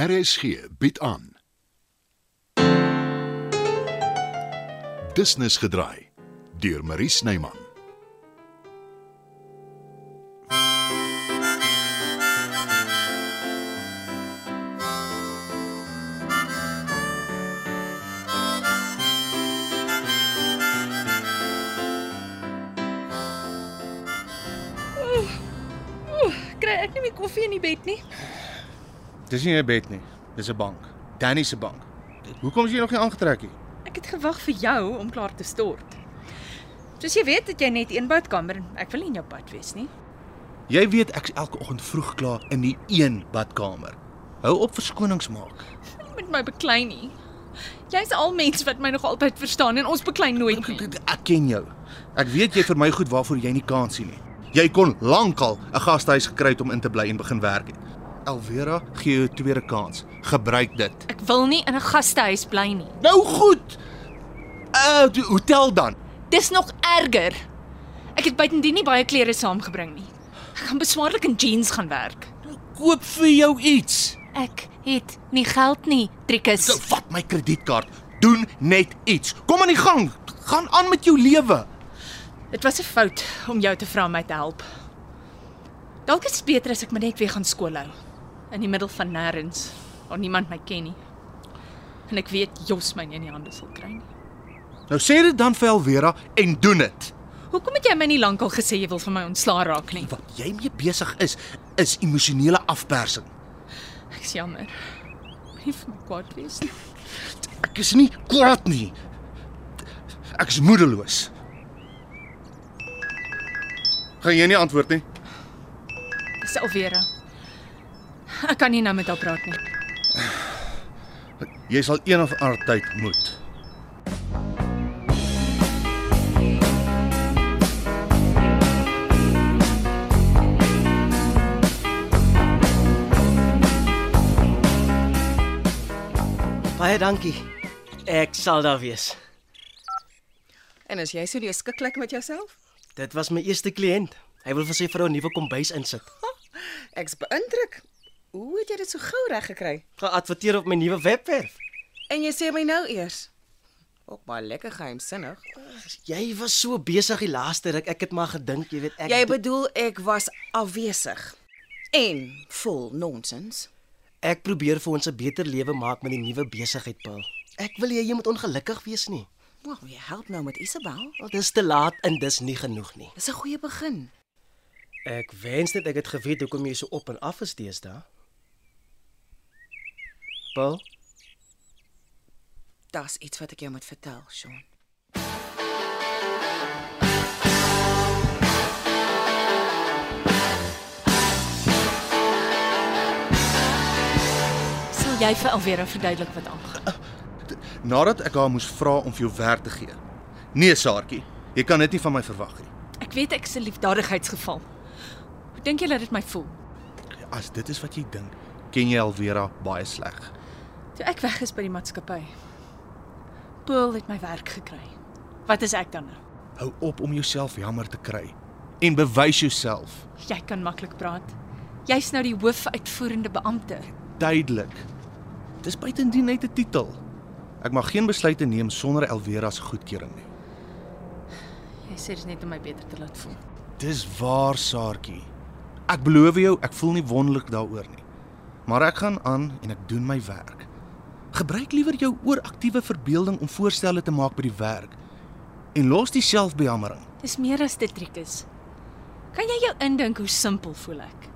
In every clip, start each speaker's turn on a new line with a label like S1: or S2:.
S1: RSG bied aan. Business gedraai deur Marie Snyman.
S2: Kry ek nie meer koffie in die bed nie.
S3: Dis nie 'n bed nie, dis 'n bank. Danny se bank. Hoekom is jy nog nie aangetrek nie?
S2: Ek het gewag vir jou om klaar te stort. Soos jy weet, het jy net een badkamer. Ek wil nie in jou bad wees nie.
S3: Jy weet ek's elke oggend vroeg klaar in die een badkamer. Hou op verskonings maak.
S2: Moenie met my beklei nie. Jy's al mens wat my nog altyd verstaan en ons beklei nooit nie.
S3: Ek- Ek ken jou. Ek weet jy vir my goed waarvoor jy nie kans sien nie. Jy kon lankal 'n gastehuis gekry het om in te bly en begin werk het. Elvera gee jou 'n tweede kans. Gebruik dit.
S2: Ek wil nie in 'n gastehuis bly nie.
S3: Nou goed. Uh, die hotel dan.
S2: Dis nog erger. Ek het buitendien nie baie klere saamgebring nie. Ek gaan beswaarlik in jeans gaan werk.
S3: Koop vir jou iets.
S2: Ek het nie geld nie,
S3: So,
S2: Trikus.
S3: vat my kredietkaart. Doen net iets. Kom aan die gang. Gaan aan met jou lewe.
S2: Dit was 'n fout om jou te vra om my te help. Dalk is dit beter as ek my net weer gaan skool hou in die middel van nêrens waar niemand my ken nie. En ek weet Jos my nie in die hande sal kry nie.
S3: Nou sê dit dan vir Elvera en doen dit.
S2: Hoekom het jy my nie lankal gesê jy wil van my ontslaa raak nie?
S3: Wat jy mee besig is, is emosionele afpersing.
S2: Ek is jammer. Moenie vir my kwaad wees nie.
S3: Ek is nie kwaad nie. Ek is moedeloos. Gaan jy nie antwoord nie?
S2: Dis Alvera. Ek kan nie nou met haar praat nie.
S3: Jy sal een of ander tyd moet.
S4: Baie dankie. Ek sal daar wees.
S5: En as jy so leeskiklik met jouself?
S4: Dit was my eerste kliënt. Hy wil vir sy vrou 'n nuwe kombuis insit.
S5: Ek's beïndruk. Hoe het jy dit so gou reg gekry?
S4: Geadverteer op my nuwe webwerf.
S5: En jy sê my nou eers. Ook baie lekker geheimsinnig.
S4: Jy was so besig die laaste ruk. Ek het maar gedink, jy weet ek
S5: Jy bedoel ek was afwesig en vol nonsens.
S4: ek probeer vir ons 'n beter lewe maak met die nuwe besigheid, Paul. Ek wil hê jy moet ongelukkig wees nie.
S5: Wow, jy help nou met Isabel.
S4: Want dis te laat en dis nie genoeg nie.
S5: Dis 'n goeie begin.
S4: Ek wens net ek het geweet hoekom jy so op en af is deesdae. Paul,
S5: Daar's iets wat ek jou moet vertel, Sean.
S2: Sal jy vir Alvera verduidelik wat aangaan?
S3: Nadat ek haar moes vra om vir jou werk te gee. Nee, Saartjie, jy kan dit nie van my verwag nie.
S2: Ek weet ek is 'n liefdadigheidsgeval. Hoe dink jy dat dit my voel?
S3: As dit is wat jy dink, ken jy Elvera baie sleg.
S2: Toe ek weg is by die maatskappy. Paul het my werk gekry. Wat is ek dan nou?
S3: Hou op om jouself jammer te kry en bewys jouself.
S2: Jy kan maklik praat. Jy's nou die hoofuitvoerende beampte.
S3: duidelik. Dis buitendien net 'n titel. Ek mag geen besluite neem sonder Elvera se goedkeuring nie.
S2: Jy sê dit net om my beter te laat voel.
S3: Dis waar, Saartjie. Ek beloof jou, ek voel nie wonderlik daaroor nie. Maar ek gaan aan en ek doen my werk. Gebruik liewer jou ooraktiewe verbeelding om voorstelle te maak by die werk en los die selfbejammering.
S2: Dis meer as dit trikus. Kan jy jou indink hoe simpel voel ek?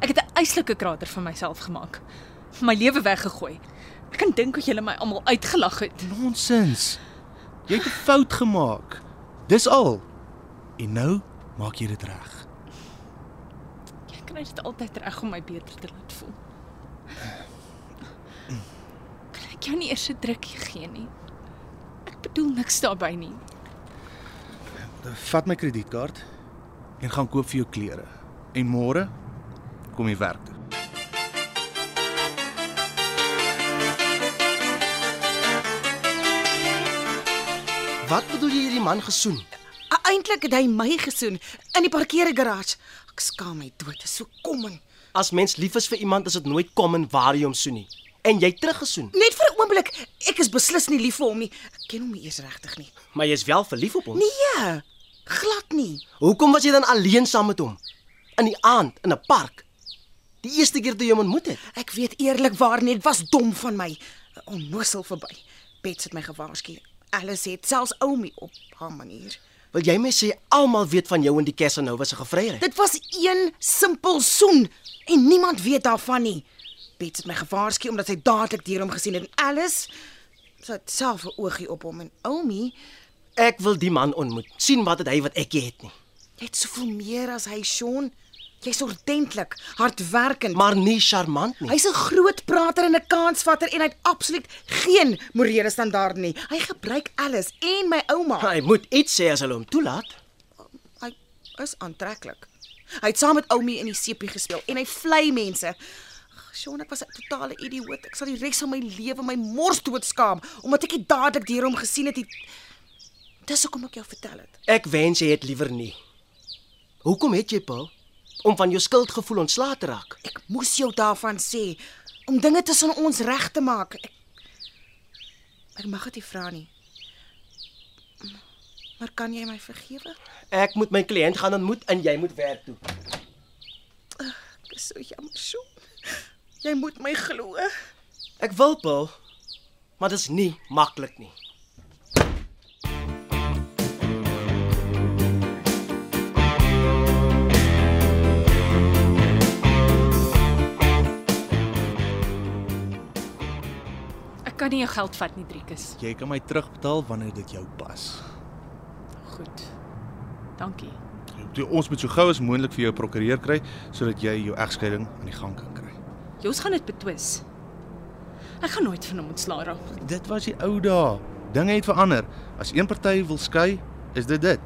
S2: Ek het 'n eislike krater van myself gemaak. My lewe weggegooi. Ek kan dink hoe julle my almal uitgelag het.
S3: Nonsens. Jy het 'n fout gemaak. Dis al. En nou maak jy dit reg.
S2: Jy kry dit altyd reg om my beter te laat voel. Kan ek jou nie eers 'n drukkie gee nie? Ek bedoel niks daarbey nie.
S3: Vat my kredietkaart en gaan koop vir jou klere. En môre kom jy werk toe.
S4: wat bedoel jy hierdie man gesoen?
S5: E- Eintlik het hy my gesoen in die parkeergarage. Ek skaam my dood, dit is so kom en
S4: As mens lief is vir iemand, is dit nooit kom en waar jy hom soen nie. En jy teruggesoen,
S5: Net vir 'n oomblik, ek is beslis nie lief vir hom nie. Ek ken hom nie eers regtig nie.
S4: maar jy is wel verlief op hom.
S5: Nee, glad nie.
S4: Hoekom was jy dan alleen saam met hom? In die aand in 'n park. Die eerste keer toe jy hom ontmoet het.
S5: Ek weet eerlikwaar net was dom van my. Onnosel verby. Bets het my gewaarsku. Alles het selfs Oumi op haar manier.
S4: Wil jy my sê almal weet van jou en die Casanova se gevryery?
S5: Dit was een simpel soen en niemand weet daarvan nie. Bets het my gewaarsku omdat sy dadelik deur hom gesien het en alles sy het self 'n oogie op hom en Oumi
S4: Ek wil die man ontmoet. sien wat het hy wat ek nie het nie.
S5: het soveel meer as hy Sean. Jy's ordentlik, hardwerkend.
S4: Maar nie charmant nie.
S5: Hy's 'n groot prater en 'n kansvatter en hy het absoluut geen morele standaarde nie. Hy gebruik alles en my ouma.
S4: Hy moet iets sê as hulle hom toelaat.
S5: Hy is aantreklik. Hy het saam met Oumi in die seepie gespeel en hy vlei mense. Ag, Sean, ek was 'n totale idioot. Ek sal die res van my lewe my mors doodskaam omdat ek dit dadelik deur hom gesien het. die- Dis hoekom ek jou vertel het.
S4: Ek wens jy het liewer nie. Hoekom het jy Paul om van jou skuldgevoel ontslae te raak?
S5: Ek moes jou daarvan sê om dinge tussen ons reg te maak. Ek Ek mag dit nie vra nie. Maar kan jy my vergewe?
S4: Ek moet my kliënt gaan ontmoet en jy moet werk toe.
S5: Ek is so jammer, Sjoe. Jy moet my glo.
S4: Ek wil Paul, maar dit is nie maklik nie.
S2: Ek kan nie jou geld vat nie, Driekus.
S3: Jy kan my terugbetaal wanneer dit jou pas.
S2: Goed. Dankie.
S3: Toe ons moet so gou as moontlik vir jou 'n prokureur kry sodat jy jou egskeiding aan die gang kan kry.
S2: Jous gaan dit betwis. Ek gaan nooit van hom ontslaa raak. nie.
S3: Dit was die ou dae. Dinge het verander. As een party wil skei, is dit dit.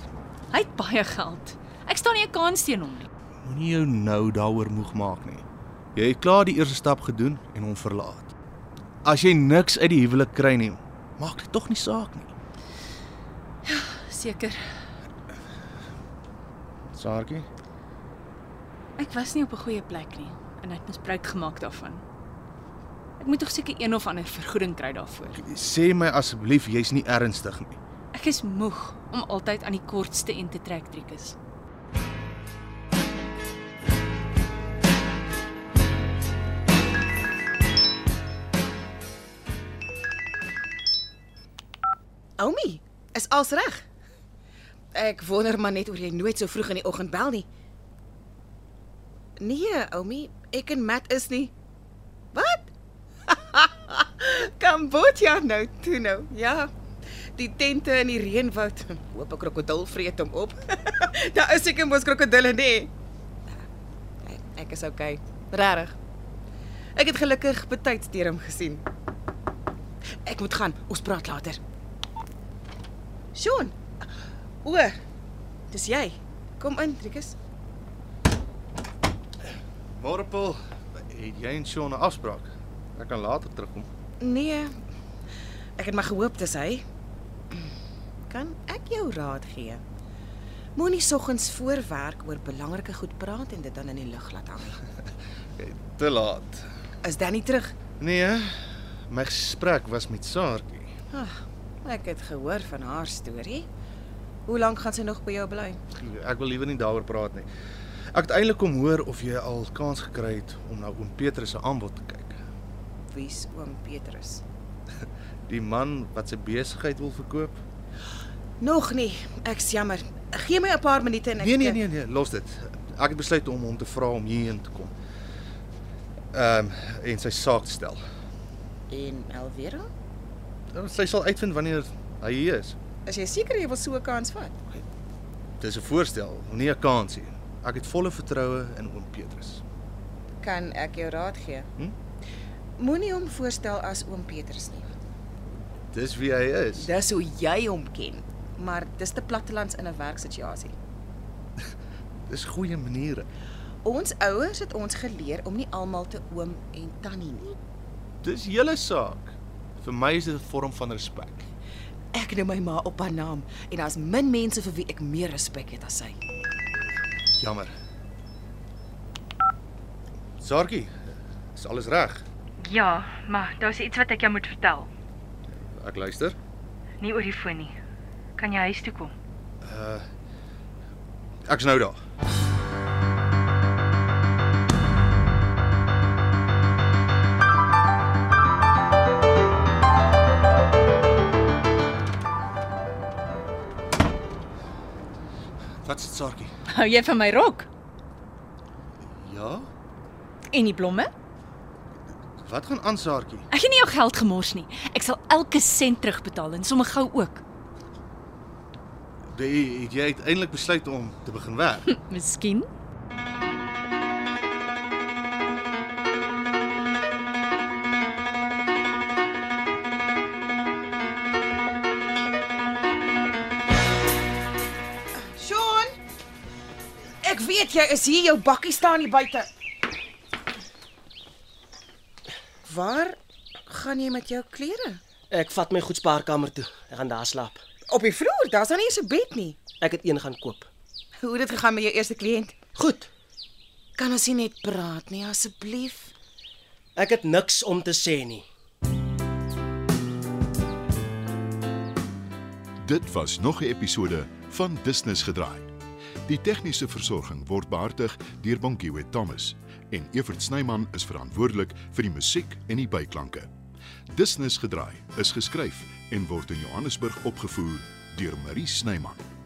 S2: Hy het baie geld. Ek staan nie 'n kans teen hom nie.
S3: Moenie jou nou daaroor moeg maak nie. Jy het klaar die eerste stap gedoen en hom verlaat. As jy niks uit die huwelik kry nie, maak dit tog nie saak nie.
S2: Seker.
S3: Saartjie,
S2: Ek was nie op 'n goeie plek nie en hy het misbruik gemaak daarvan. Ek moet tog seker een of ander vergoeding kry daarvoor.
S3: sê my asseblief jy's nie ernstig nie.
S2: Ek is moeg om altyd aan die kortste end te trek, Driekus.
S5: Oumi, is alles reg? Ek wonder maar net oor jy nooit so vroeg in die oggend bel nie. Nee, Oumi, ek en Matt is nie. Wat? Kambodja nou toe nou. Ja. Die tente in die reënwoud. Hoop 'n krokodil vreet hom op. Daar is seker mos krokodille nê. Nee, ek is okay. Regtig. Ek het gelukkig betyds deur hom gesien. Ek moet gaan. Ons praat later. Sean. O, dis jy. Kom in, Trikus.
S3: Môre Paul, het jy en Sean 'n afspraak? Ek kan later terugkom.
S5: Nee. Ek het maar gehoop dis hy. Kan ek jou raad gee? Moenie soggens voor werk oor belangrike goed praat en dit dan in die lug laat hang. nie.
S3: Te laat.
S5: Is Danny terug?
S3: Nee, my gesprek was met Saartjie.
S5: Ag, Ah, ek het gehoor van haar storie. Hoe lank gaan sy nog by jou bly?
S3: Ek wil liewer nie daaroor praat nie. Ek het eintlik kom hoor of jy al kans gekry het om na oom Petrus se aanbod te kyk.
S5: Wie's oom Petrus?
S3: Die man wat sy besigheid wil verkoop?
S5: Nog nie. Ek's jammer. Gee my 'n paar minute en ek
S3: Nee nee nee nee, los dit. Ek het besluit om hom te vra om hierheen te kom. Ehm um, en sy saak te stel. Nou,
S5: En Elvira?
S3: Sy sal uitvind wanneer hy hier is.
S5: Is jy seker jy wil so 'n kans vat?
S3: Dis 'n voorstel, nie 'n kansie. Ek het volle vertroue in oom Petrus.
S5: Kan ek jou raad gee?
S3: Hm?
S5: Moenie hom voorstel as oom Petrus nie.
S3: Dis wie hy is.
S5: Dis hoe jy hom ken, maar dis te plattelands in 'n werksituasie.
S3: Dis goeie maniere.
S5: Ons ouers het ons geleer om nie almal te oom en tannie nie.
S3: Dis julle saak. Vir my is dit 'n vorm van respek.
S5: Ek noem my ma op haar naam en daar's min mense vir wie ek meer respek het as sy.
S3: Jammer. Saartjie, is alles reg?
S2: Ja, maar daar's iets wat ek jou moet vertel.
S3: Ek luister.
S2: Nie oor die foon nie. Kan jy huis toe kom?
S3: Uh, Ek's nou daar. Wat sit Saartjie?
S2: Hou jy van my rok
S3: Ja,
S2: en die blomme?
S3: wat gaan aan Saartjie?
S2: Ek gaan nie jou geld gemors nie. Ek sal elke sent terugbetaal en sommer gou ook.
S3: Die- Het jy uiteindelik besluit om te begin werk?
S2: Miskien.
S5: Sean. Ek weet jy is hier, jou bakkie staan hier buite. Waar gaan jy met jou klere?
S4: Ek vat my goed spaarkamer toe. Ek gaan daar slaap.
S5: Op die vloer, daar's dan nie eens 'n bed nie.
S4: Ek het een gaan koop.
S5: Hoe het dit gegaan met jou eerste kliënt?
S4: Goed.
S5: Kan ons nie net praat nie asseblief?
S4: Ek het niks om te sê nie.
S1: Dit was nog 'n episode van Business gedraai. Die tegniese versorging word behartig deur Bonnie Witt Thomas en Evert Snyman is verantwoordelik vir die musiek en die byklanke. Business gedraai is geskryf en word in Johannesburg opgevoer deur Marie Snyman.